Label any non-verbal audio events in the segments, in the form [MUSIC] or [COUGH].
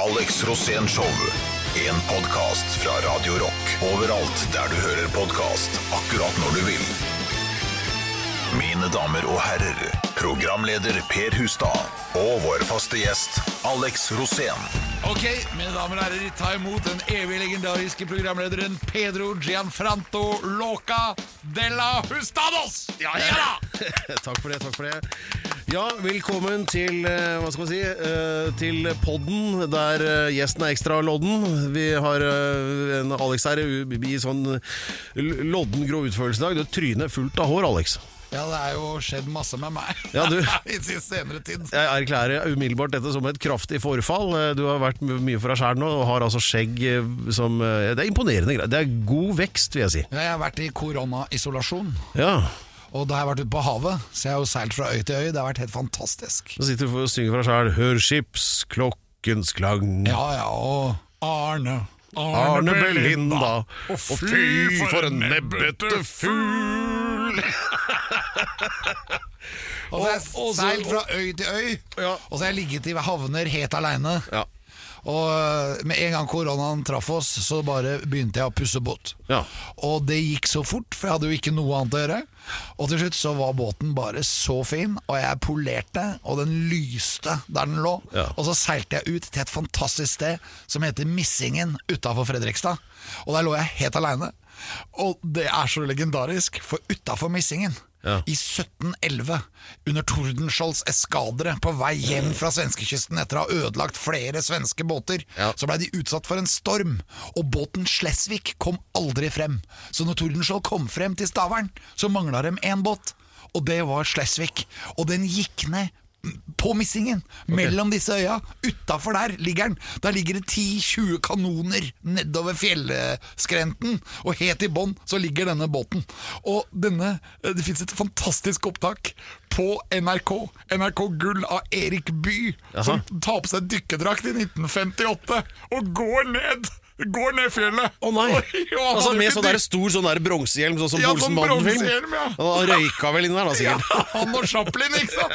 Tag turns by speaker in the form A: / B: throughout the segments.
A: Alex Rosén Show. En podkast fra Radio Rock. Overalt der du hører podkast, akkurat når du vil. Mine damer og herrer, programleder Per Hustad og vår faste gjest Alex Rosén.
B: Ok, mine damer og herrer, ta imot den evig legendariske programlederen Pedro Gianfranto Loca de la Hustados! Ja, ja da!
C: [LAUGHS] Takk for det, takk for det. Ja, velkommen til, eh, hva skal man si, eh, til podden der eh, gjesten er ekstra lodden. Vi har eh, en Alex her i i sånn l- lodden grå utførelse i dag. Du har trynet fullt av hår, Alex.
B: Ja, det er jo skjedd masse med meg
C: Ja, du.
B: [LAUGHS] i sin senere tid.
C: Jeg erklærer umiddelbart dette som et kraftig forfall. Eh, Du har vært m- mye for deg sjæl nå og har altså skjegg eh, som eh, Det er imponerende greier. Det er god vekst, vil jeg si.
B: Ja, Jeg har vært i koronaisolasjon,
C: Ja.
B: og da har jeg vært ute på havet, så jeg har jo seilt fra øy til øy. Det har vært helt fantastisk.
C: Så sitter du og synger for deg sjæl. Hør skipsklokkens klang.
B: Ja, ja, og Arne.
C: Arne Belinda.
B: Og fy for en nebbete
C: fugl!
B: Og så har jeg
C: Og- og så-
B: seilt fra øy til øy,
C: Ja.
B: og så har jeg ligget i havner helt aleine.
C: Ja.
B: Og eh, med en gang koronaen traff oss, så bare begynte jeg å pusse båt.
C: Ja.
B: Og det gikk så fort, for jeg hadde jo ikke noe annet å gjøre. Og til slutt så var båten bare så fin, og jeg polerte, og den lyste der den lå.
C: Ja.
B: Og så seilte jeg ut til et fantastisk sted som heter Missingen utafor Fredrikstad. Og der lå jeg helt aleine. Og det er så legendarisk, for utafor Missingen
C: Ja.
B: i 1711, under Tordenskiolds eskadre på vei hjem fra svenskekysten etter å ha ødelagt flere svenske båter,
C: Ja.
B: så blei de utsatt for en storm, og båten Slesvig kom aldri frem. Så når Tordenskiold kom frem til Stavern, så mangla dem én båt, og det var Slesvig. Og den gikk ned på Missingen, mellom disse øya. Utafor der ligger den. Der ligger det 10-20 kanoner nedover fjellskrenten, og helt i bånn så ligger denne båten. Og denne eh, Det fins et fantastisk opptak på NRK. NRK Gull av Erik Bye, som tar på seg dykkerdrakt i 1958 og går ned. Går ned fjellet.
C: Å nei!
B: Ja, han
C: altså
B: hadde
C: Med
B: ikke
C: sånn der stor sånn der bronsehjelm, sånn som
B: Ja, sånn
C: Olsen Mannen-film.
B: bronsehjelm, ja.
C: Han røyka vel inn der, da,
B: Ja,
C: sikkert.
B: [LAUGHS] han og Chaplin, ikke sant?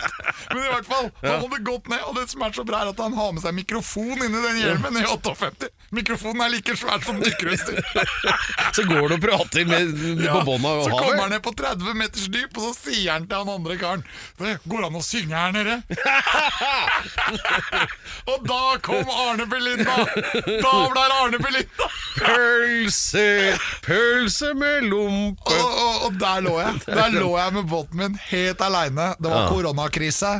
B: Men i hvert fall, han hadde gått ned, og det som er så bra, er at han har med seg mikrofon inni den hjelmen i 58. Mikrofonen er like svær som dykkerutstyr.
C: [LAUGHS] Så går du og prater med, med på bånda
B: så
C: og
B: kommer han
C: havet.
B: ned på 30 meters dyp, og så sier han til han andre karen Det går an å synge her
C: [LAUGHS]
B: nede? og da kom Arne Belinda! Da ble det Arne Belinda!
C: Pølse, pølse med lompe
B: Og, og, og der lå jeg. Der lå jeg med båten min helt aleine. Det var
C: Ja.
B: koronakrise,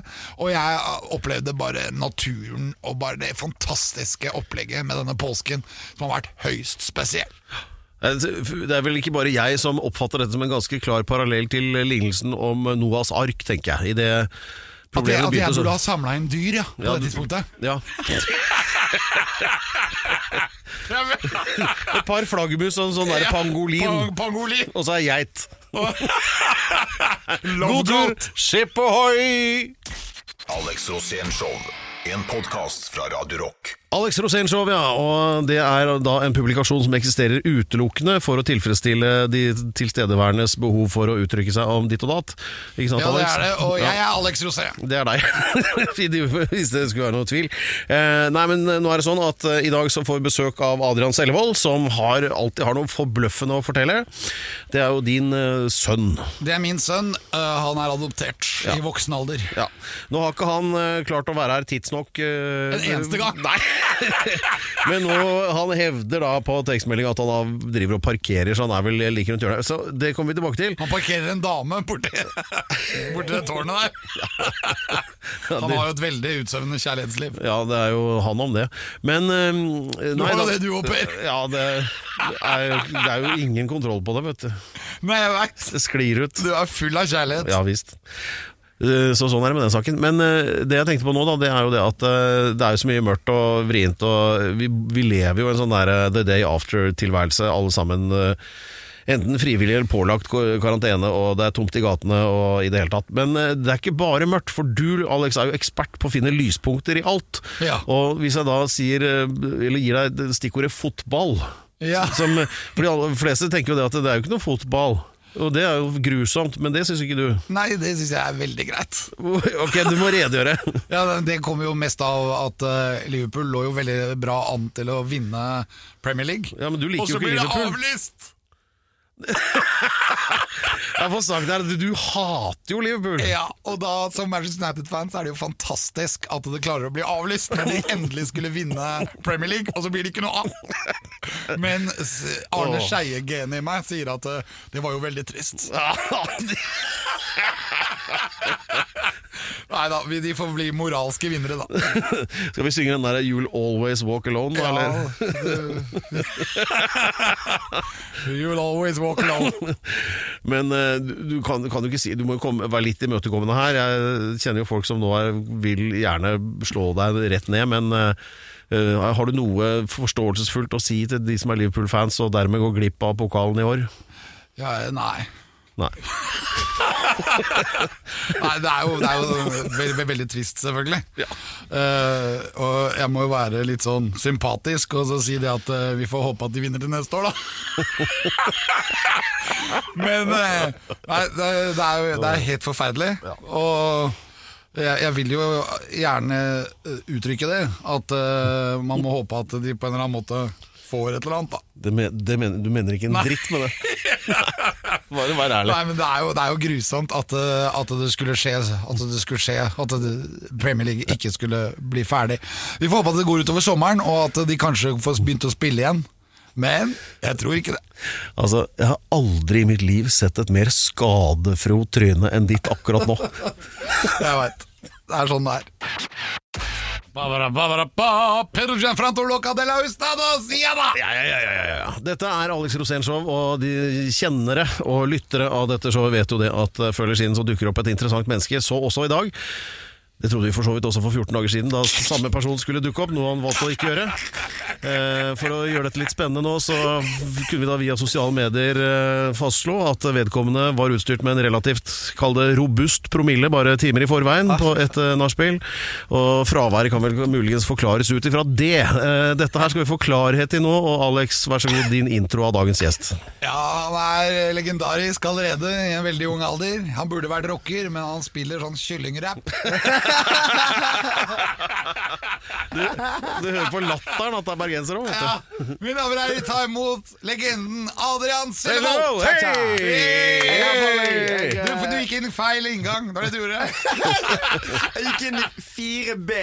B: og jeg opplevde bare naturen og bare det fantastiske opplegget med denne påsken, som har vært høyst spesiell.
C: Eh, Det er vel ikke bare jeg som oppfatter dette som en ganske klar parallell til eh, lignelsen om Noas ark, tenker jeg. I det
B: At jeg,
C: problemet
B: at jeg
C: begynte
B: burde
C: så-
B: ha samla inn dyr, ja, på
C: Ja,
B: det
C: du- [LAUGHS]
B: tidspunktet.
C: Ja. Et par flaggermus og en sånn der pangolin.
B: Pang, pangolin.
C: Og så er geit. God tur! Skip ohoi!
A: Alex Rosén Show. En podkast fra Radio Rock.
C: Alex Rosénshow, ja. Og det er da en publikasjon som eksisterer utelukkende for å tilfredsstille de tilstedeværendes behov for å uttrykke seg om ditt og datt. Ikke sant,
B: Ja, det
C: Alex?
B: er det. Og
C: Ja.
B: jeg er Alex Rosé.
C: Det er deg, [LAUGHS] I de- hvis det skulle være noe tvil. Eh, nei, men nå er det sånn at eh, i dag så får vi besøk av Adrian Sellevold, som har, alltid har noe forbløffende å fortelle. Det er jo din eh, sønn.
B: Det er min sønn. øh, han er adoptert i voksen alder.
C: Ja. Nå har ikke han eh, klart å være her tidsnok. eh,
B: En eneste gang.
C: Nei. [LAUGHS] Men nå, han hevder da på tekstmelding at han da driver og parkerer, så han er vel like rundt hjørnet. Så det kommer vi tilbake til.
B: Han parkerer en dame [LAUGHS] borti, borti det [LAUGHS] tårnet der. Han har jo et veldig utsøvende kjærlighetsliv.
C: Ja, det er jo han om det. Men eh,
B: Du
C: nei,
B: har jo
C: da-
B: det du òg, Per.
C: Ja, det er, det er jo ingen kontroll på det, vet du.
B: Nei, jeg veit.
C: Det sklir ut.
B: Du er full av kjærlighet.
C: Ja visst. Eh, Så sånn er det med den saken. Men eh, det jeg tenkte på nå, da, det er jo det at eh, det er jo så mye mørkt og vrient, og vi, vi lever jo en sånn der eh, the day after-tilværelse, alle sammen. eh, Enten frivillig eller pålagt ko- karantene, og det er tomt i gatene og i det hele tatt. Men eh, det er ikke bare mørkt, for du, Alex, er jo ekspert på å finne lyspunkter i alt.
B: Ja.
C: Og hvis jeg da sier, eh, eller gir deg det stikkordet fotball
B: Ja.
C: som, For de aller fleste tenker jo det at det er jo ikke noe fotball. Og det er jo grusomt, men det syns ikke du.
B: Nei, det syns jeg er veldig greit.
C: Ok, du må redegjøre.
B: Ja, det- Det kommer jo mest av at eh, Liverpool lå jo veldig bra an til å vinne Premier League.
C: Ja, men du liker
B: Og
C: jo
B: så
C: ikke
B: blir det
C: Liverpool.
B: avlyst!
C: [LAUGHS] Jeg har fått sagt her at du hater jo Liverpool.
B: Ja, og da Som Manchester United-fan så er det jo fantastisk at det klarer å bli avlyst når de endelig skulle vinne Premier League, og så blir det ikke noe av. Men s- Arne
C: Åh.
B: Skeie-genet i meg sier at eh, det var jo veldig trist.
C: [LAUGHS]
B: Nei da, de får bli moralske vinnere, da.
C: Skal vi synge den der You'll Always Walk Alone, da? Eller?
B: [LAUGHS] You'll always walk alone.
C: Men eh, du du kan, kan jo ikke si Du må jo komme, være litt imøtekommende her. Jeg kjenner jo folk som nå er, vil gjerne slå deg rett ned, men eh, eh, har du noe forståelsesfullt å si til de som er Liverpool-fans og dermed går glipp av pokalen i år?
B: Ja, nei.
C: Nei.
B: Nei, det er jo, det er jo ve ve veldig trist, selvfølgelig. Eh, og jeg må jo være litt sånn sympatisk og så si det at eh, vi får håpe at de vinner til neste år, da. [LAUGHS] Men eh, nei, det, det, er jo, det er helt forferdelig. Og jeg, jeg vil jo gjerne eh, uttrykke det, at eh, man må håpe at de på en eller annen måte får et eller annet, da.
C: Det men, det men, du mener ikke en dritt med det? [LAUGHS] Bare vær ærlig.
B: Nei, men det er jo, det er jo grusomt at, eh, at det skulle skje At det skulle skje At det- Premier League ikke skulle bli ferdig Vi får håpe at det går utover sommeren Og at de kanskje får begynt å spille igjen Men jeg tror ikke det
C: Altså, Jeg har aldri i mitt liv sett et mer skadefro tryne enn ditt akkurat nå.
B: Jeg vet Det er sånn det er Babara, babara, ba, Pedro Gianfranco Loca de la Ustados Ja da
C: [LAUGHS] Ja, ja, ja, ja, ja, ja. Dette er Alex Rosénshow, og de kjennere og lyttere av dette showet vet jo det at eh, før eller siden så dukker opp et interessant menneske, så også i dag. Det trodde vi for så vidt også for 14 dager siden, da samme person skulle dukke opp, noe han valgte å ikke gjøre. Eh, For å gjøre dette litt spennende nå, så kunne vi da via sosiale medier eh, fastslå at vedkommende var utstyrt med en relativt, kall det robust promille, bare timer i forveien på et eh, nachspiel. Og fraværet kan vel muligens forklares ut ifra det. Eh, Dette her skal vi få klarhet i nå, og Alex, vær så god, din intro av dagens gjest.
B: Ja, han er legendarisk allerede I en veldig ung alder Han burde vært rocker Men han spiller sånn kyllingrapp
C: Du hører på latteren at det er bergenser òg,
B: Ja, mine damer og herrer, ta imot legenden Adrian
C: Selvold,
B: Selvold!
C: hei!
B: Takk, takk.
C: Hei!
B: Hei! Du, for du gikk inn feil inngang, det var det du gjorde.
D: Jeg gikk inn i 4B.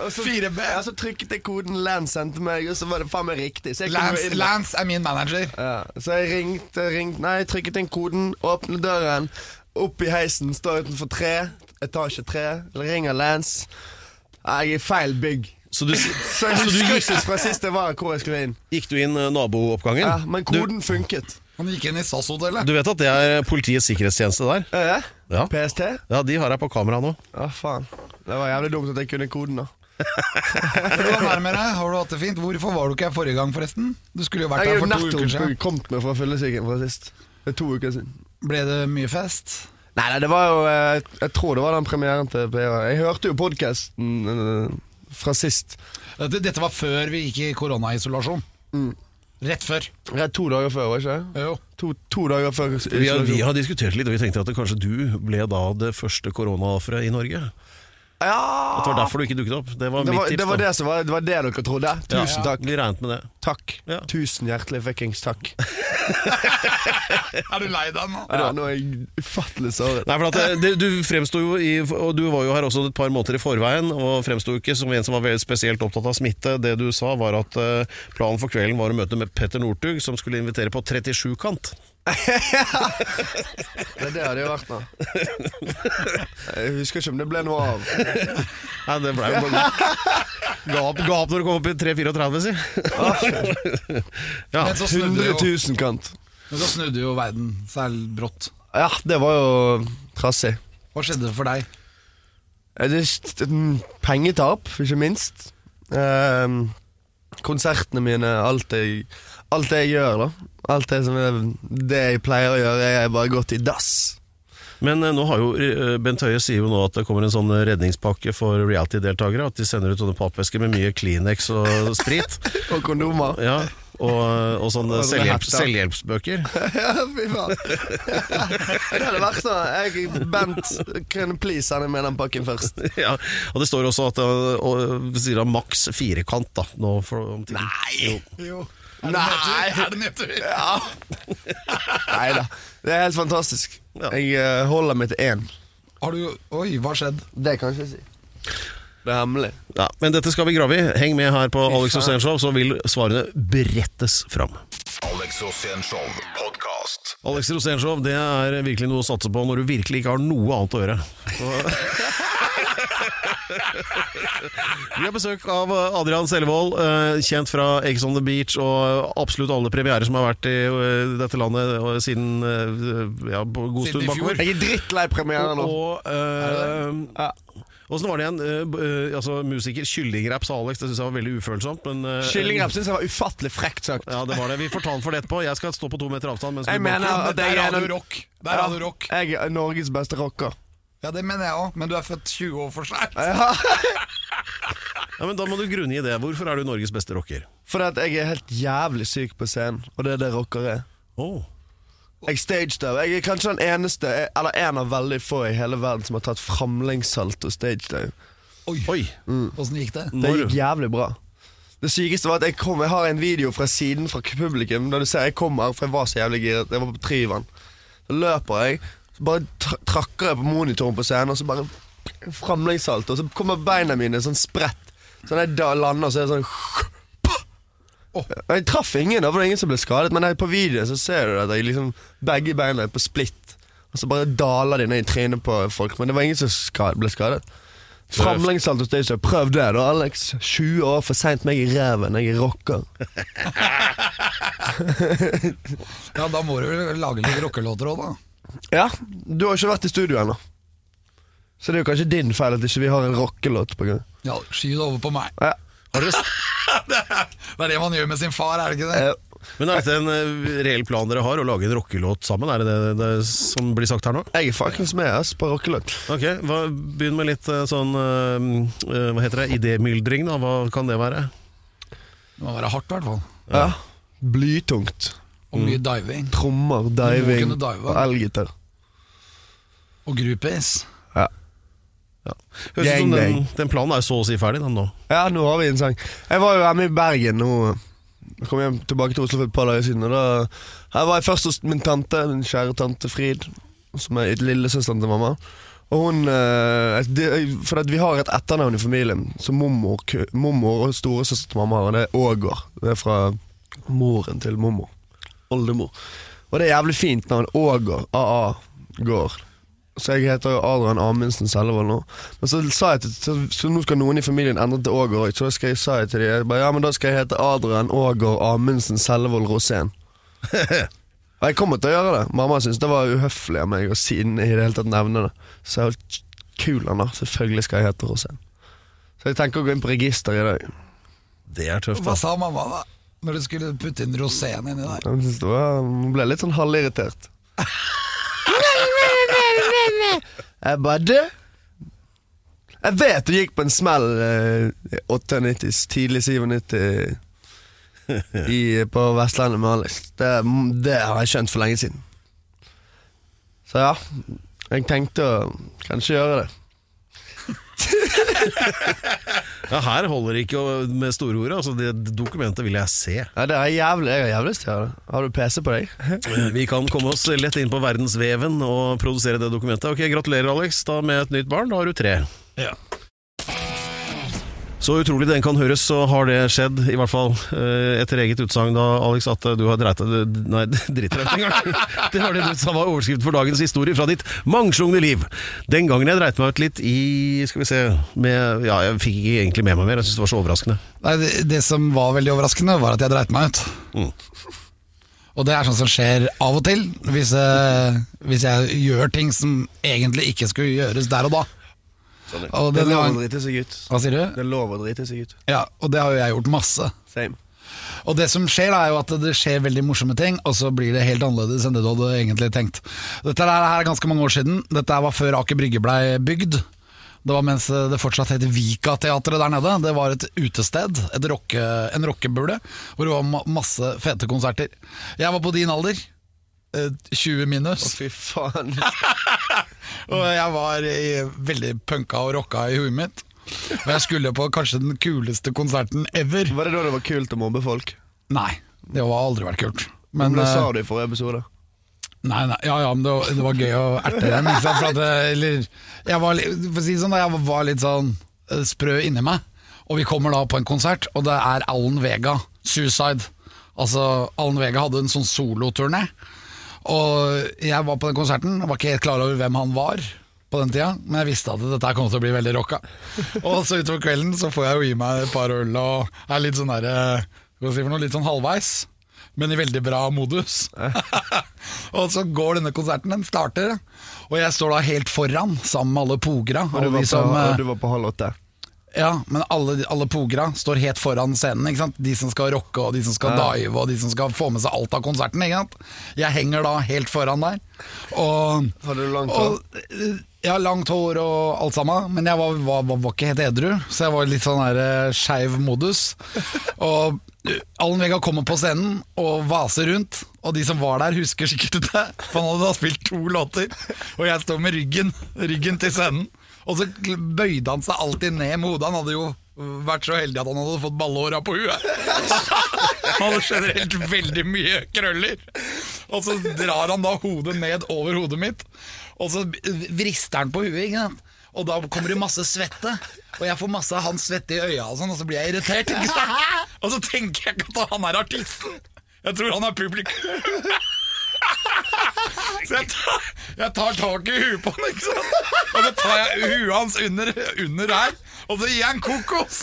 D: Og så,
B: 4B?
D: Ja, så trykket jeg koden Lance sendte meg, og så var det faen meg riktig. Så jeg, kunne
B: Lance,
D: gå inn.
B: Lance er min manager.
D: Ja, så jeg ringte, ringte Nei, jeg trykket inn koden, åpnet døren, opp i heisen, står utenfor tre, etasje tre, ringer Lance. Nei, jeg er i feil bygg.
C: Så du,
D: Så jeg husker ikke fra sist jeg var hvor jeg skulle inn.
C: gikk du inn eh, nabooppgangen?
D: Ja, men
C: Du-
D: koden funket.
B: Han gikk inn i SAS-hotellet.
C: Du vet at det er Politiets sikkerhetstjeneste der?
D: Ja, ja.
C: Ja,
D: PST?
C: ja de har deg på kamera nå.
D: Å, faen. Det var jævlig dumt at jeg kunne koden, da.
B: Hvordan er det med deg? Har du hatt det fint? Hvorfor var du ikke her forrige gang, forresten? Du skulle jo vært
D: Jeg
B: her
D: er jo
B: for to uker
D: nettopp
B: siden.
D: kommet meg fra fyllesyken fra sist. Det er to uker siden.
B: Ble det mye fest?
D: Nei, nei, det var jo eh, Jeg tror det var den premieren til PH. Jeg hørte jo podkasten fra sist.
B: Dette, dette var før vi gikk i koronaisolasjon. Rett før.
D: Rett to dager før, var det ikke?
B: Jo.
D: To, to dager før
C: Vi har, vi har diskutert litt, og vi tenkte at det kanskje du ble da det første koronaofferet i Norge. At
D: Ja!
C: det var derfor du ikke dukket opp. Det var
D: Det
C: mitt
D: var,
C: tips.
D: det var
C: da.
D: det som var Det var det dere trodde. Tusen takk.
C: Vi regnet med det.
D: Takk.
C: Ja.
D: Tusen hjertelig fuckings takk.
B: Er du lei deg nå?
D: Ja, nå er jeg ufattelig såret.
C: Nei, for at det, det, Du fremsto jo i Og du var jo her også et par måneder i forveien, og fremsto ikke som en som var veldig spesielt opptatt av smitte. Det du sa, var at eh, planen for kvelden var å møte med Petter Northug, som skulle invitere på 37-kant.
D: Det er det hadde jo vært nå. [LAUGHS] Jeg husker ikke om det ble noe av.
C: Nei, det blei jo bare
D: [LAUGHS]
C: gap, gap når du kom opp i 3-34, si. ja.
B: Men så snudde
D: 100
B: jo,
D: 000 kant.
B: men så snudde jo verden seg brått.
D: Ja, det var jo trassig.
B: Hva skjedde for deg?
D: Ja, Det er st- mm, pengetap, ikke minst. Ehm, konsertene mine, alt jeg, alt jeg gjør, da. Alt det, som er, det jeg pleier å gjøre, er jeg bare gått i dass.
C: Men eh, nå har jo eh, Bent Høie sier jo nå at det kommer en sånn redningspakke for reality-deltakere. At de sender ut sånne pappesker med mye Kleenex og sprit.
D: Og kondomer.
C: Ja, og, eh, og sånne
D: Og sånne
C: selvhjelps,
D: hetta.
C: selvhjelpsbøker.
D: [LAUGHS]
C: [LAUGHS]
D: Ja, fy [LAUGHS] faen. Det hadde vært sånn. Jeg, Bent, kan du please sende meg den pakken først?
C: Ja, og det står også at øh, og, sier da maks firkant da, nå for, om tiden.
B: Nei! Jo. Er det
D: Nei.
B: nedtur? Er det nedtur?
D: Nei da. Det er helt fantastisk.
C: Ja.
D: Jeg eh, holder meg til én.
B: Har du Oi, hva har skjedd?
D: Det kan jeg ikke si. Det er hemmelig.
C: Ja, men dette skal vi grave i. Heng med her på Alex
D: faen.
C: Osen Show, så vil svarene brettes fram.
A: Alex Rosén-show podkast.
C: Alex Rosénshow, det er virkelig noe å satse på når du virkelig ikke har noe annet å gjøre. Så- [LAUGHS] Vi har besøk av Adrian Selvold, eh, kjent fra Eggs on the Beach og absolutt alle premierer som har vært i eh, dette landet eh, siden eh, ja, på god
B: Siden
C: stund
B: i fjor.
C: bakover.
D: Jeg er drittlei premiere nå.
C: Og eh, Åssen var det igjen? Eh, b- eh, altså, musiker Kyllingrapp sa Alex, det syns jeg var veldig ufølsomt. Men, eh,
D: Kyllingrapp syns jeg var ufattelig frekt sagt.
C: Ja, det var det. Vi får ta den for det etterpå. Jeg skal stå på to meter avstand. Mens
D: Jeg
C: du
D: mener
B: Ja, men
D: at
B: der
D: jeg er
B: har du
D: den-
B: rock. Der har du rock.
D: Jeg er Norges beste rocker.
B: Ja, det mener jeg òg, men du er født 20 år for seint.
C: ja, men da må du grunngi det. Hvorfor er du Norges beste rocker?
D: [LAUGHS] Fordi at jeg er helt jævlig syk på scenen, og det er det rocker er.
C: Oh.
D: Jeg stagedøv. Jeg er kanskje den eneste, eller en av veldig få i hele verden som har tatt framlengssalto stagedøv.
C: Oi!
B: Åssen gikk det?
D: Det
C: Når,
D: gikk jævlig bra. Det sykeste var at jeg kom, jeg har en video fra siden fra publikum. Der du ser jeg kommer, for jeg var så jævlig giret. Jeg var på Tryvann. Så løper jeg, så bare tra trakker jeg på monitoren på scenen, og så bare framlengssalto. Og så kommer beina mine sånn spredt. Så når jeg da lander, så er det sånn
B: Åh.
D: Og Jeg traff ingen, da var det ingen som ble skadet, men her på videoen så ser du at jeg liksom begge beina er på splitt. Og så bare daler de ned i trynet på folk, men det var ingen som ska- ble skadet. Framlengssalto stage, prøv det da, Alex. 20 år for seint meg i ræven, jeg er rocker.
B: Ja, Da må du vel lage litt rockelåter òg, da.
D: Ja, du har ikke vært i studio ennå. Så det er jo kanskje din feil at ikke vi har en rockelåt på gang.
B: Ja, Sky det over på meg.
D: Ja.
C: har dere,
B: Det er det er det man gjør med sin far, er det ikke det?
D: eh,
C: men er dette en eh, reell plan dere har, å lage en rockelåt sammen? Er det det, det som blir sagt her nå?
D: Jeg er fuckings med ass, på rockelåt.
C: Ok, hva, Begynn med litt eh, sånn eh, eh, Hva heter det? Idémyldring, da. Hva kan det være?
B: Det må være hardt, i hvert fall.
D: Ja. Blytungt.
B: Og mye diving.
D: Trommer, diving
B: kunne dive.
D: og elgitar.
B: Og groupies.
D: Ja.
C: Ja. Høres ut som den,
D: Gangbang.
C: den planen er jo så å si ferdig, den nå.
D: Ja, nå har vi en sang. Jeg var jo hjemme i Bergen nå. Jeg kom hjem tilbake til Oslo for et par dager siden. Og da, her var jeg først hos min tante, min kjære tante Frid, som er lillesøsteren til mamma. Og hun, eh, det, For at vi har et etternavn i familien, så mormor, ku- mormor og storesøster til mamma har, og det er Ågård. Det er fra moren til mormor. Oldemor. Og det er jævlig fint navn. Ågård. AA Gård. Så jeg heter jo Adrian Amundsen Selvold nå. Men så sa jeg til så, så nå skal noen i familien endre til Ågård òg. Så da skal jeg, sa jeg til dem bare, Ja, men da skal jeg hete Adrian Ågård Amundsen Selvold Rosén. Og jeg kommer til å gjøre det. Mamma syntes det var uhøflig av meg å si den i det hele tatt nevne det. Så jeg var kul, han da. Selvfølgelig skal jeg hete Rosén. Så jeg tenker å gå inn på registeret i dag.
C: Det er tøft,
B: Hva
C: da.
B: sa mamma da? Når du skulle putte inn rosén inni der?
D: Jeg synes det var, hun ble litt sånn halvirritert. [LAUGHS] jeg bare Du? Jeg vet du gikk på en smell eh, 98, tidlig 97 i, på Vestlandet med Alex. Det, det har jeg skjønt for lenge siden. Så ja, jeg tenkte å kanskje gjøre det.
C: Ja, her holder det ikke å- med storordet. Altså, det dokumentet vil jeg se.
D: Ja, det er jævlig, Jeg har jævlig lyst til å gjøre det. Har du PC på deg?
C: Eh, Vi kan komme oss lett inn på verdensveven og produsere det dokumentet. Ok, Gratulerer, Alex, da med et nytt barn. Da har du tre.
B: Ja.
C: Så utrolig den kan høres, så har det skjedd, i hvert fall eh, etter eget utsagn da, Alex, at eh, du har dreit deg Nei, [LAUGHS] dritt deg ut en gang. Det var det du sa var overskrift for dagens historie fra ditt mangslungne liv. Den gangen jeg dreit meg ut litt i Skal vi se med, Ja, jeg fikk ikke egentlig med meg mer. Jeg syns det var så overraskende.
B: Nei, det, det som var veldig overraskende, var at jeg dreit meg ut.
C: Mm.
B: Og det er sånt som skjer av og til, hvis, eh, hvis jeg gjør ting som egentlig ikke skulle gjøres der og da. Og
D: Det
B: denne
D: er lov å
B: gang-
D: drite seg ut.
B: hva sier du?
D: Det er lov å drite seg ut.
B: Ja, og det har jo jeg gjort masse.
D: Same.
B: Og det som skjer da, er jo at det skjer veldig morsomme ting, og så blir det helt annerledes enn det du hadde egentlig tenkt. Dette her er ganske mange år siden. Dette her var før Aker Brygge blei bygd. Det var mens det fortsatt het Vika-teatret der nede. Det var et utested, et rocke, en rockebule, hvor det var ma- masse fete konserter. Jeg var på din alder, eh, 20 minus,
D: Fy faen.
B: og jeg var i, veldig punka og rocka i huet mitt. Og jeg skulle på kanskje den kuleste konserten ever.
D: Var det da det var kult å mobbe folk?
B: Nei, det har aldri vært kult.
D: Men det
B: eh,
D: sa du i forrige episode.
B: Nei, nei, ja, ja, men det var, det var gøy å erte dem. Ikke sant? For at, eh, eller, jeg var, li- for å si det sånn, da, jeg var litt sånn eh, sprø inni meg, og vi kommer da på en konsert, og det er Alan Vega, Suicide. Altså, Alan Vega hadde en sånn soloturné, og jeg var på den konserten, var ikke helt klar over hvem han var på den tida, men jeg visste at dette her kom til å bli veldig rocka. Og så utover kvelden så får jeg jo gi meg et par øl og er litt sånn der, eh, hva skal jeg si for noe, litt sånn halvveis men i veldig bra
D: [LAUGHS]
B: modus. og så går denne konserten, den starter, og jeg står da helt foran sammen med alle pogra.
D: Og du
B: Alle
D: var,
B: de som,
D: på,
B: eh,
D: og du var på halv åtte.
B: ja, men alle, alle pogra står helt foran scenen. Ikke sant? De som skal rocke, og de som skal dive, og de som skal få med seg alt av konserten. Ikke sant? Jeg henger da helt foran der. Og
D: Hadde du langt hår?
B: og, eh, ja, langt hår og alt sammen, men jeg var, var, var, var ikke helt edru, så jeg var litt sånn her eh, skeiv
D: [LAUGHS]
B: modus. Og eh, Allen Vega kommer på scenen og vaser rundt, og de som var der, husker sikkert det, for han hadde da spilt to låter, og jeg står med ryggen, ryggen til scenen. Og så gl- bøyde han seg alltid ned med hodet. Han hadde jo vært så heldig at han hadde fått ballehåra på huet. [LAUGHS] Han hadde generelt veldig mye krøller. Og så drar han da hodet ned over hodet mitt, og så vrister han på huet. Ikke sant? Og da kommer det masse svette, og jeg får masse av hans svette i øya, og sånn, og så blir jeg irritert. Ikke sant? Og så tenker jeg ikke at han er artisten. Jeg tror han er publikum. [LAUGHS] Så jeg tar, jeg tar tak i huet på han, ikke sant? Og så tar jeg huet hans under, under her, og så gir jeg en kokos.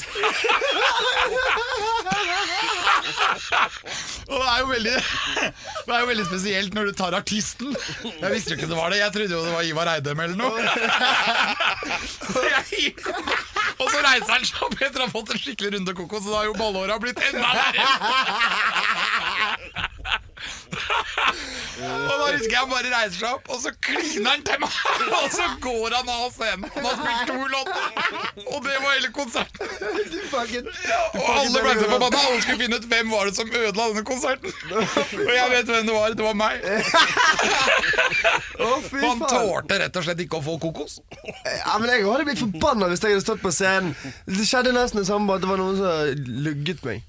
B: Og det er, jo veldig, [LAUGHS] det er jo veldig spesielt når du tar artisten. Jeg visste jo ikke det var det. Jeg trodde jo det var Ivar Eidem eller noe. Så jeg, [LAUGHS] og så reiser han seg opp etter å ha fått en skikkelig runde kokos, og da har jo ballåra blitt enda verre. [LAUGHS] Og da husker jeg han bare reiser seg opp, og så kliner han til meg! [LAUGHS] Og så går han av scenen. Han har spilt to låter, og det var hele konserten. Og alle ble så forbanna. Alle skulle finne ut hvem var det som ødela denne
D: [LAUGHS]
B: konserten. Og jeg vet hvem det var. Det var meg.
D: Å, fy
B: Han
D: faen.
B: tålte rett og slett ikke å få kokos. [LAUGHS]
D: Ja, men jeg hadde blitt forbanna hvis jeg hadde stått på scenen. Det skjedde nesten det samme, bare at det var noen som lugget meg.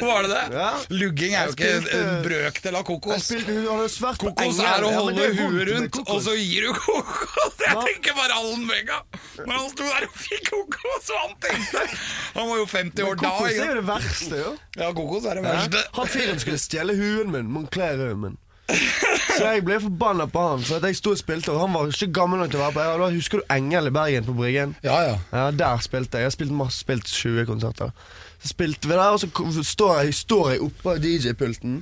B: Var det det?
D: Ja.
B: Lugging er jo ikke
D: Jeg spilte-
B: en brøkdel av kokos.
D: Spilte hun hadde svært på
B: Kokos
D: engelen.
B: er å
D: Ja, men
B: holde
D: det er vondt
B: huet
D: med
B: rundt,
D: kokos.
B: og så gir du kokos. [LAUGHS] Jeg
D: Ja.
B: tenker bare Allen Vega. Når han sto der og fikk kokos, og han tenkte Han var jo 50 år da.
D: Kokos
B: ikke
D: er
B: sant?
D: jo det verste, jo.
B: Ja, kokos er det verste.
D: Han fyren skulle stjele huen min, Moncler-huen [LAUGHS] min. Så jeg ble forbanna på han. For at jeg sto og spilte, og han var ikke gammel nok til å være på. Jeg, da husker du Engel i Bergen, på Bryggen?
B: Ja, ja.
D: Ja, der spilte jeg. Jeg har spilt, masse, spilt 20 konserter. Så spilte vi der, og så kom- så står jeg, står jeg oppå DJ-pulten.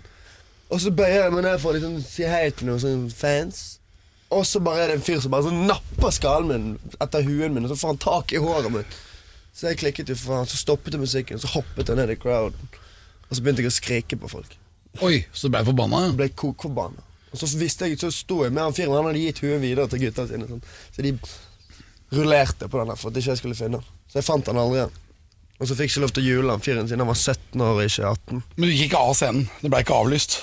D: Og så bøyer jeg meg ned for å liksom, si hei til noen sånne fans. Og så bare er det en fyr som bare sånn napper skallen min etter huen min, og så får han tak i håret mitt. Så jeg klikket jo for han, så stoppet jeg musikken, så hoppet jeg ned i crowden. Og så begynte jeg å skrike på folk.
B: Oi, så ble jeg forbanna.
D: Jeg ble kokforbanna. Og så visste jeg, så sto jeg med han fyren, han hadde gitt huet videre til gutta sine. Sånn. Så de rullerte på den der for at ikke jeg skulle finne han. Så jeg fant han aldri igjen. Og så fikk jeg ikke lov til å jule han fyren siden han var 17 år, ikke 18.
B: Men du gikk ikke av scenen. Det ble ikke avlyst.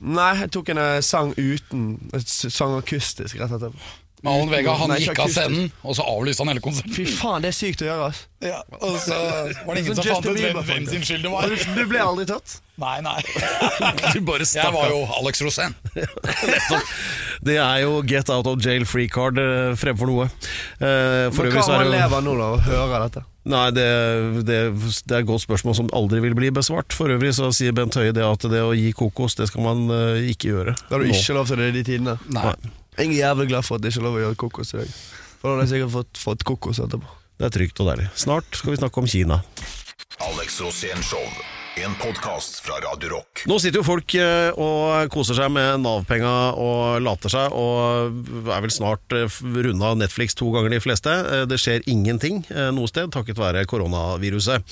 D: Nei, jeg tok en eh, sang uten. Jeg s- sang akustisk rett etterpå.
B: Men Allen Vega han
D: Nei, ikke
B: gikk av
D: akustisk.
B: scenen, og så avlyste han hele konserten.
D: Fy faen, det er sykt å gjøre, ass.
B: [LAUGHS] Ja, og så var det
D: Sånn
B: ingen som
D: Justin
B: fant ut hvem,
D: Bieber,
B: hvem sin skyld det
D: Og
B: var.
D: du, du ble aldri
C: [LAUGHS]
D: tatt?
B: [LAUGHS] Nei, nei. [LAUGHS]
C: Du bare
B: Jeg
C: stakk
B: var
C: av.
B: jo Alex Rosén.
C: [LAUGHS] Det er jo get out of jail free card eh, fremfor noe. Eh, For
D: Men
C: øvrig
D: hva om
C: så er det
D: han
C: jo
D: lever nå, da, og hører dette?
C: Nei, det, det, det er et godt spørsmål som aldri vil bli besvart. For øvrig så sier Bent Høie det at det å gi kokos, det skal man eh, ikke gjøre.
D: Da har du
C: Nå.
D: ikke lov til det i de tidene.
B: Nei.
D: Jeg er jævlig glad for at det ikke er lov å gjøre kokos i dag. For da hadde jeg sikkert fått, fått kokos etterpå.
C: Det er trygt og deilig. Snart skal vi snakke om Kina.
A: Alex Rosén Show. En podkast fra Radio Rock.
C: Nå sitter jo folk eh, og koser seg med Nav-penga og later seg, og er vel snart eh, f- runda Netflix to ganger de fleste. Eh, Det skjer ingenting eh, noe sted takket være koronaviruset.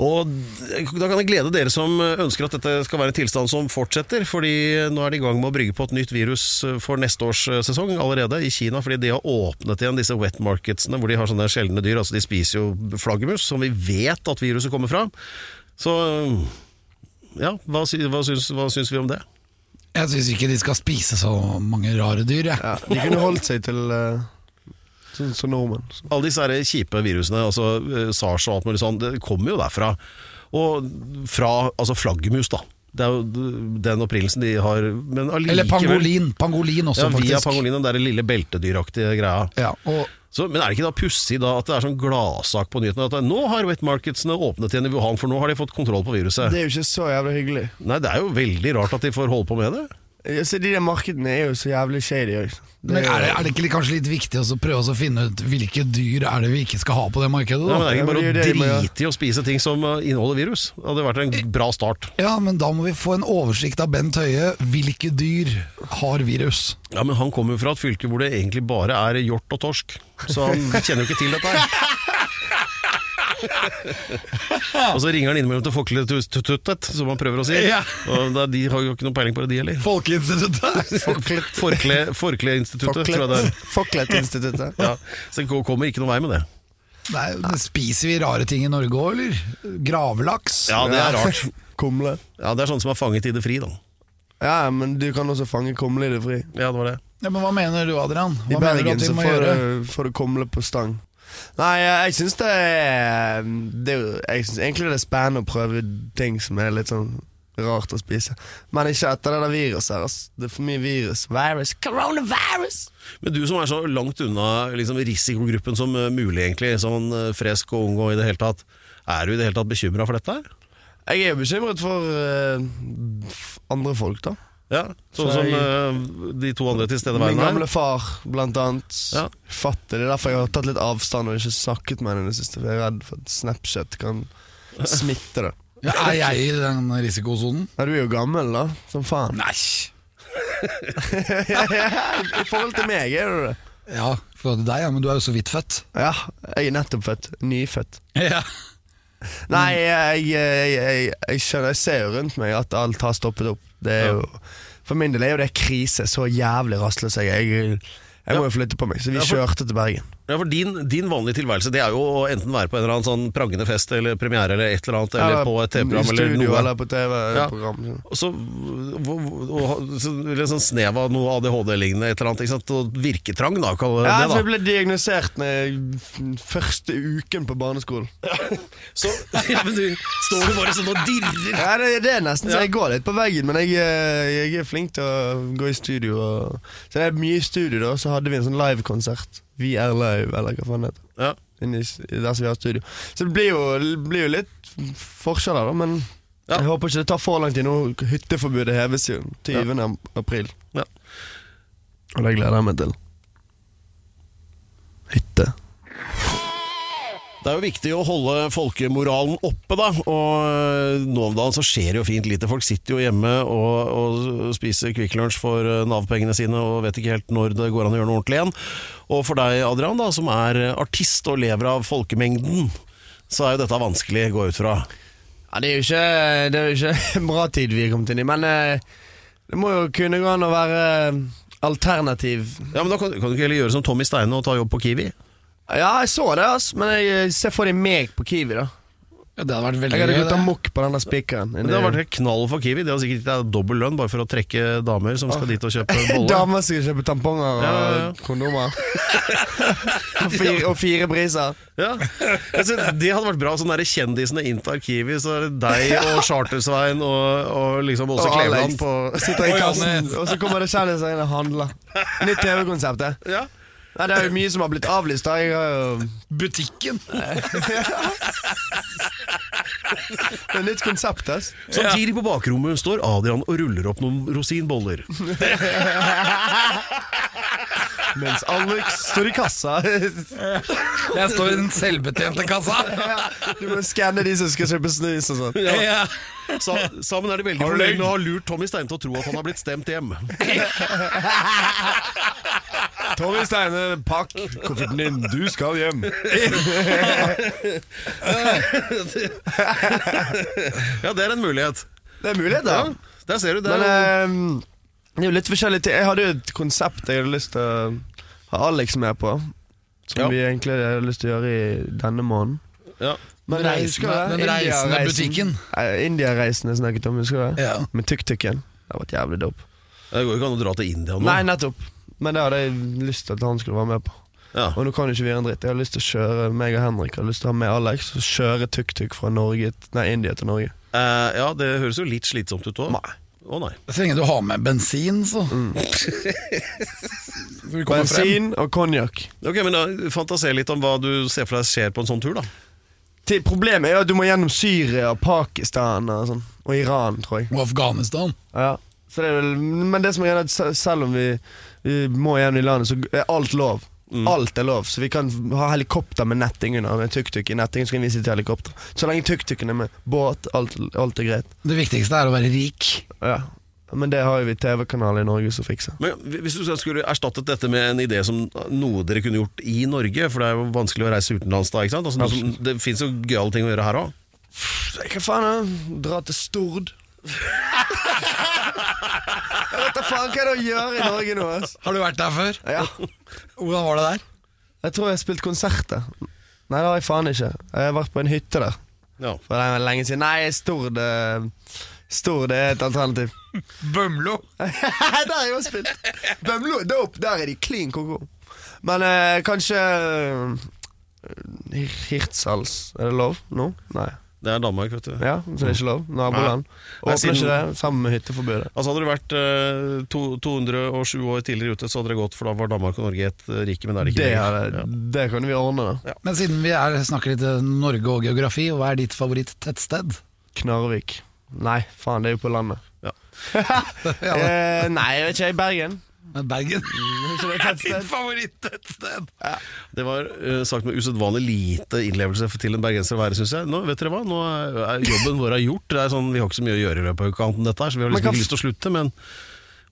C: Og da kan jeg glede dere som eh, ønsker at dette skal være en tilstand som fortsetter, fordi nå er de i gang med å brygge på et nytt virus eh, for neste års sesong allerede i Kina, fordi de har åpnet igjen disse wet marketsene hvor de har sånne sjeldne dyr. Altså de spiser jo flaggermus, som vi vet at viruset kommer fra. Så ja, hva, sy hva, syns, hva syns vi om det?
B: Jeg syns ikke de skal spise så mange rare dyr, jeg.
D: Ja, de kunne holdt seg til eh, sånn som nordmenn. Så.
C: Alle disse her kjipe virusene, altså eh, SARS og alt mulig sånn, det kommer jo derfra. Og fra altså flaggermus, da. Det er jo den opprinnelsen de har. Men allikevel
B: Eller pangolin. Pangolin også,
C: Ja,
D: altså,
C: via
B: faktisk.
C: pangolin, den der lille beltedyraktige greia.
B: Ja, og
C: Så, men er det ikke da pussig da at det er sånn gladsak på nyhetene at det- nå har wet marketsene åpnet igjen i Wuhan, for nå har de fått kontroll på viruset?
D: Det er jo ikke så jævlig hyggelig.
C: Nei, det er jo veldig rart at de får holde på med det.
D: Ja, så de der markedene er jo så jævlig shady òg.
B: Men er det, er det ikke litt- kanskje litt viktig også å prøve også å finne ut hvilke dyr er det vi ikke skal ha på det markedet?
C: Ja, men
B: Da?
C: det er ikke
D: Ja, men
C: bare å
D: det er jo det de må gjøre.
C: drite i å spise ting som eh, inneholder virus. Det hadde vært en bra start.
B: Ja, men da må vi få en oversikt av Bent Høie. Hvilke dyr har virus?
C: Ja, men han kommer jo fra et fylke hvor det egentlig bare er hjort og torsk, så han kjenner jo ikke til dette her. og så ringer han innimellom til Folketuttet, som han prøver å si.
B: Ja.
C: Og da, de har jo ikke noen peiling på det, de heller.
B: Folkeinstituttet!
D: [LAUGHS]
C: Forkle- Forkleinstituttet, tror jeg det er.
D: Folklettinstituttet.
C: Ja, så det kommer ikke noen vei med det.
B: Nei, men spiser vi rare ting i Norge òg, eller? Gravelaks?
C: Ja, det er rart.
D: [LAUGHS] Kumle.
C: Ja, Det er sånne som er fanget i det fri, da.
D: Ja, men du kan også fange kumle i det fri.
C: Ja, det var det.
B: Ja, men hva mener du, Adrian? Hva
D: I
B: mener du
D: Bergen
B: at
D: så
B: vi må
D: får
B: gjøre?
D: du, får du kumle på stang. Nei, jeg, jeg syns det er, um, det er jo- Jeg syns egentlig det er spennende å prøve ting som er litt sånn rart å spise. Men ikke etter det der viruset her, ass. Det er for mye virus. Virus. Coronavirus!
C: Men du som er så langt unna liksom, risikogruppen som eh, mulig, egentlig, sånn eh, fresk og ung og i det hele tatt, er du i det hele tatt bekymra for dette her?
D: Jeg er jo bekymret for eh, f- andre folk, da.
C: Ja, sånn
D: Så
C: som
D: jeg-
C: eh, de to andre
D: Min
C: tilstedeværende her.
D: gamle far, blant annet.
C: Ja.
D: Fatter det er derfor jeg har tatt litt avstand og ikke snakket med henne i det siste. For jeg er redd for at Snapchat kan smitte det.
B: Ja, er jeg i den risikosonen?
D: Nei, du er jo gammel, da. Som faen.
B: Nei.
D: I forhold til meg er du det.
B: Ja, for deg, ja, men du er jo så vidt født.
D: Ja, jeg er nettopp født. Nyfødt.
B: [LAUGHS] Ja.
D: Nei, jeg, jeg, jeg, jeg skjønner Jeg ser jo rundt meg at alt har stoppet opp. Det er jo, for min del er jo det krise. Så jævlig rastløs jeg er. Jeg, jeg må jo flytte på meg, så vi
C: Ja, for-
D: kjørte til Bergen.
C: Ja, for din, din vanlige tilværelse Det er jo å enten være på en eller annen sånn prangende fest eller premiere eller et eller annet, eller på et TV-program
D: I
C: eller
D: studio
C: noe.
D: eller på TV-program.
C: Og så, hvor- hvor- og, ha- så litt sånn snev av noe ADHD-lignende, et eller annet. Ikke sant? Og virketrang, da, kaller
D: Ja, for
C: det
D: altså, jeg
C: det. da
D: ble diagnosert når jeg- den første uken på barneskolen.
C: [LAUGHS] så, ja, men du står jo bare sånn og dirrer.
D: Ja, det, det er nesten så
C: Ja.
D: jeg går litt på veggen, men jeg, eh, jeg er flink til å gå i studio. Og, så det er mye i studio, da. Så hadde vi en sånn livekonsert. Vi er live, eller hva faen det heter.
C: Ja.
D: Inni s- Der som vi har studio. Så det blir jo, blir jo litt forskjeller, da. Men
C: Ja.
D: jeg håper ikke det tar for lang tid nå. Hytteforbudet heves jo 20. april.
C: Ja.
D: Og det gleder jeg meg til. Hytte.
C: Det er jo viktig å holde folkemoralen oppe, da. Og eh, nå om dagen så skjer det jo fint lite. Folk sitter jo hjemme og, og spiser Kvikk Lunsj for eh, Nav-pengene sine og vet ikke helt når det går an å gjøre noe ordentlig igjen. Og for deg, Adrian, da, som er artist og lever av folkemengden, så er jo dette vanskelig, går jeg ut fra.
D: Ja, det er jo ikke, [LAUGHS] det er jo ikke en bra tid vi er kommet inn i, men eh, det må jo kunne gå an å være eh, alternativ.
C: Ja, men Da kan, kan du ikke heller gjøre som Tommy Steine og ta jobb på Kiwi?
D: Ja, jeg så det, ass, men jeg eh, ser for deg meg på Kiwi, da.
B: ja, det hadde vært veldig
D: Jeg hadde
B: gøy,
D: gått
B: det.
D: amok på denne spikeren.
C: Men Det har vært helt knall for Kiwi. De har sikkert gitt deg dobbel lønn bare for å trekke damer som skal dit og [LAUGHS] kjøpe bolle.
D: Damer som skal kjøpe tamponger og
C: Ja, ja, ja. [LAUGHS]
D: kondomer. og, fire, og fire briser.
C: Ja. Altså, det hadde vært bra. Sånn der kjendisene inntar Kiwi, så er det deg og Chartersvein og, og liksom Åse
D: Og
C: Kleveland
D: Alex.
C: på
D: Sitter i
B: Oi,
D: kassen,
B: Janne.
D: og så kommer det kjendiser inn og handler. Nytt TV-konsept, det.
C: ja.
D: Nei, Det er jo mye som har blitt avlyst. da Jeg har jo
B: Butikken!
D: Det er nytt konsept, ass.
C: Samtidig på bakrommet står Adrian og ruller opp noen rosinboller.
D: Mens Alex står i kassa. [LAUGHS]
B: Jeg står i den selvbetjente kassa.
D: Du må skanne de som skal kjøpe snus og sånn.
B: Ja.
C: Sa, sammen er de veldig
B: Har du
C: fornøyd
B: løgn?
C: med å ha lurt Tommy Stein til å tro at han har blitt stemt hjem.
D: Torry Steine, pakk kofferten din, du skal hjem.
C: Ja, det er en mulighet.
D: Det er mulighet, da.
C: Ja, der ser du. Det
D: Men
C: er,
D: ehm, det er jo litt forskjellig ting. Jeg hadde jo et konsept jeg hadde lyst til å ha Alex med på. Som
C: Ja.
D: vi egentlig hadde lyst til å gjøre i denne måneden.
C: ja.
D: Men eh,
B: Den reisende- den reisende butikken.
D: India-reisen jeg snakket om, husker du? det?
B: Ja.
D: Med tuk-tuken. Det har vært jævlig dope.
C: Det går jo ikke an å dra til India nå.
D: Nei, nettopp. Men det hadde jeg lyst til at han skulle være med på.
C: Ja.
D: Og nå kan jo ikke vi gjøre en dritt. Jeg har lyst til å kjøre meg og Henrik Jeg har lyst til å ha med Alex og kjøre tuk-tuk fra Norge, nei, India til Norge.
C: Eh, ja, det høres jo litt slitsomt ut òg.
D: Nei.
C: Å nei.
B: Så lenge du har med bensin, så. [LAUGHS] så vi kommer frem.
D: Mm. Bensin og konjakk.
C: Ok, men da, Fantaser litt om hva du ser for deg skjer på en sånn tur, da.
D: Til- Problemet er jo at du må gjennom Syria og Pakistan og sånn. Og Iran, tror jeg.
B: Og Afghanistan.
D: Ja. Så det er vel, men det som er greia, er at se- selv om vi, vi må gjennom i landet, så er alt lov. Alt er lov. Så vi kan ha helikopter med netting under. Med tuk-tuk i nettingen så kan vi sitte i helikopter. Så lenge tuk-tuken er med båt, alt, alt er greit.
B: Det viktigste er å være rik.
D: Ja. Men det har jo vi TV-kanal i Norge som fikser.
C: Men Hvis du skulle erstattet dette med en idé som noe dere kunne gjort i Norge, for det er jo vanskelig å reise utenlands da, ikke sant? Altså, noe som, det fins jo gøyale ting å gjøre her òg.
D: Så Hva faen da? Dra til Stord? Jeg vet da faen hva det er å gjøre i Norge nå, ass.
B: Har du vært der før?
D: Ja.
B: Hvordan var det der?
D: Jeg tror jeg har spilt konsert der. Nei, det har jeg faen ikke. Jeg har vært på en hytte der.
C: Ja.
D: For det er lenge siden. Nei, Stord eh, Stord er et alternativ. [LAUGHS]
B: Bømlo.
D: der har jeg også spilt. Bømlo er dope. Der er de clean koko. Men eh, kanskje eh, Hirtshals. Er det lov nå? Nei.
C: Det er Danmark, vet du.
D: Ja, så det er ikke lov. Naboland.
C: Nei,
D: Åpner
C: siden-
D: ikke det sammen med hytteforbudet.
C: Altså Hadde du vært eh, to, 207 år tidligere ute, så hadde det gått, for da var Danmark og Norge et eh, rike, men det er det ikke.
D: Det,
C: lenger.
D: er,
C: Ja.
D: det kan vi ordne, da.
B: Men siden vi er, snakker litt eh, Norge og geografi, hva er ditt favoritt-tettsted?
D: Knarvik. Nei, faen, det er jo på landet.
B: Ja,
D: [LAUGHS] Eh, nei, jeg vet ikke. I
B: [LAUGHS]
D: Bergen.
B: men Bergen.
D: Så det er et sted.
B: favoritt-tettsted!
C: Det var eh, sagt med usedvanlig lite innlevelse for- til en bergenser å være, syns jeg. Nå, vet dere hva? Nå er er jobben vår er gjort. Det er sånn, vi har ikke så mye å gjøre i løpet av uka annet enn dette, her, så vi har
D: Men
C: liksom
D: kan-
C: ikke lyst til å slutte. Men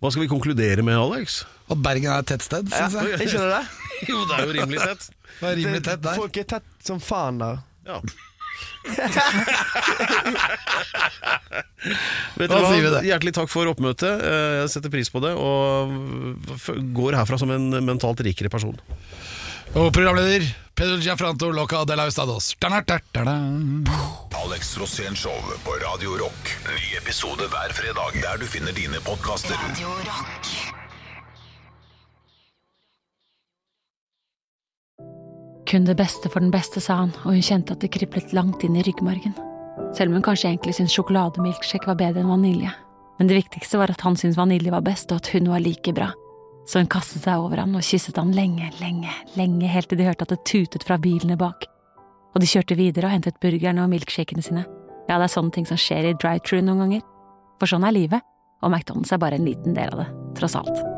C: hva skal vi konkludere med, Alex?
B: Og Bergen er et tettsted,
D: Ja,
B: syns jeg.
D: ikke det der?
C: Jo, det er jo rimelig tett.
B: Det er rimelig tett der.
D: Folk er tett som faen der.
C: Ja. Vet
B: Da sier vi
C: dere hva?
B: det.
C: Hjertelig takk for oppmøtet. Eh, Jeg setter pris på det, og f- går herfra som en mentalt rikere person.
B: Og programleder Pedro Giafranto Loca de la Ustados. Da-da-da-da-da.
A: Alex Rosén Show på Radio Rock. Ny episode hver fredag der du finner dine podkaster.
E: Radio Rock.
F: Kun det beste for den beste, sa han, og hun kjente at det kriblet langt inn i ryggmargen. Selv om hun kanskje egentlig syntes sjokolademilkshake var bedre enn vanilje. Men det viktigste var at han syntes vanilje var best, og at hun var like bra. Så hun kastet seg over han og kysset han lenge, lenge, lenge, helt til de hørte at det tutet fra bilene bak. Og de kjørte videre og hentet burgerne og milkshakene sine. Ja, det er sånne ting som skjer i drive-true noen ganger. For sånn er livet, og McDonald's er bare en liten del av det, tross alt.